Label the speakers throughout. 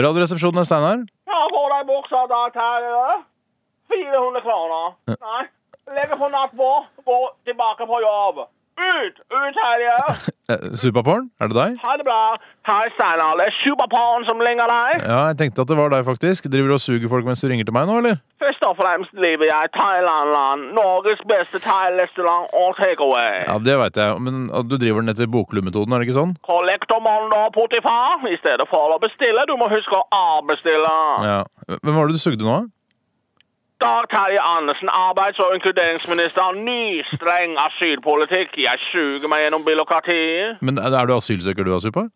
Speaker 1: Radioresepsjonen er Steinar.
Speaker 2: Ja, får deg buksa der til eh, 400 kroner. Nei. Legger på nattbå, går tilbake på jobb. Ut! Ut, Terje!
Speaker 1: Eh, Superporn, er det deg?
Speaker 2: Ha det bra. Hei, Steinar. Det er superporn som ringer deg.
Speaker 1: Ja, jeg tenkte at det var deg, faktisk. Driver du og suger folk mens du ringer til meg nå, eller?
Speaker 2: Først og fremst lever jeg i Thailand-land. Norges beste thai-restaurant og takeaway.
Speaker 1: Ja, det veit jeg, men at du driver den etter bokklubbmetoden, er det ikke sånn?
Speaker 2: Kollektor mandag potifar. I stedet for å bestille, du må huske å avbestille.
Speaker 1: Ja. Hvem var det du sugde nå?
Speaker 2: Dag Terje Andersen, arbeids- og inkluderingsminister. Ny, streng asylpolitikk. Jeg suger meg gjennom byråkratiet.
Speaker 1: Men er du asylsøker du har suppa?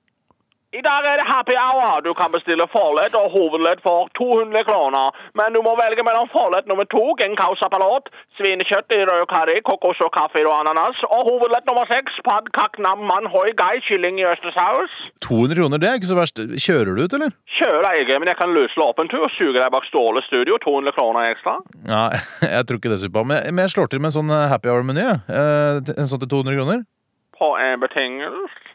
Speaker 2: I dag er det happy hour. Du kan bestille forrett og hovedrett for 200 kroner. Men du må velge mellom forrett nummer to, genkausapalat, svinekjøtt i rød karri, kokos og kaffe og ananas, og hovedrett nummer seks, pad kak nam man hoi gai, kylling i østersaus.
Speaker 1: 200 kroner, det er ikke så verst. Kjører du ut, eller?
Speaker 2: Kjører jeg ikke, men jeg kan løsle opp en tur og suge deg bak Ståle studio, 200 kroner ekstra.
Speaker 1: Ja, jeg tror ikke det, suppa. Men men jeg slår til med en sånn eh, happy hour-meny. jeg. Eh, til- En sånn til 200 kroner.
Speaker 2: På en betingelse.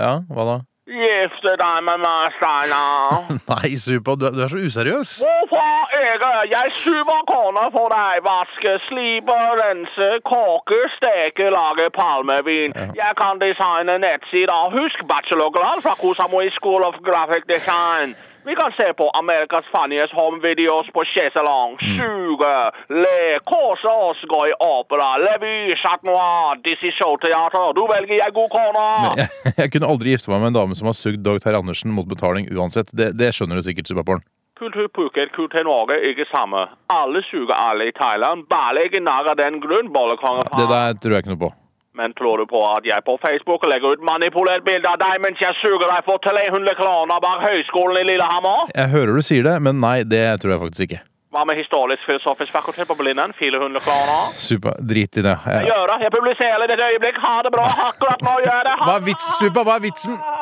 Speaker 1: Ja, hva da?
Speaker 2: Gifte deg med meg, Steinar.
Speaker 1: Nei, suppa, du er, du er så useriøs.
Speaker 2: Hvorfor ikke? Jeg suger kornet for deg. Vaske, slipe, rense, koke, steke, lage palmevin. Jeg kan designe nettsider. Husk bachelorgrad fra Kusamui School of Graphic Design. Vi kan se på Amerikas funniest home videos på kjesalong. Suge, le, kose oss, gå i opera, revy, chat noir, dizzy showteater. Du velger jeg god kone.
Speaker 1: Men Jeg, jeg kunne aldri gifte meg med en dame som har sugd Dag Terje Andersen mot betaling uansett. Det, det skjønner du sikkert, Superporn.
Speaker 2: Kultur bruker kultur Norge ikke samme. Alle suger alle i Thailand, bare ikke narr av den grunn, bollekonge.
Speaker 1: Det der tror jeg ikke noe på.
Speaker 2: Men tror du på at jeg på Facebook legger ut manipulert bilde av deg mens jeg suger deg for 300 kroner bak høyskolen i Lillehammer?
Speaker 1: Jeg hører du sier det, men nei, det tror jeg faktisk ikke.
Speaker 2: Hva med historisk-filosofisk fakultet på Blindern? 400 kroner?
Speaker 1: Super, drit i det.
Speaker 2: Jeg
Speaker 1: Jeg,
Speaker 2: gjør det. Jeg publiserer det i et øyeblikk. Ha det bra. Akkurat nå gjør jeg det. Ha
Speaker 1: hva
Speaker 2: det
Speaker 1: er
Speaker 2: bra.
Speaker 1: vits, Super? Hva er vitsen?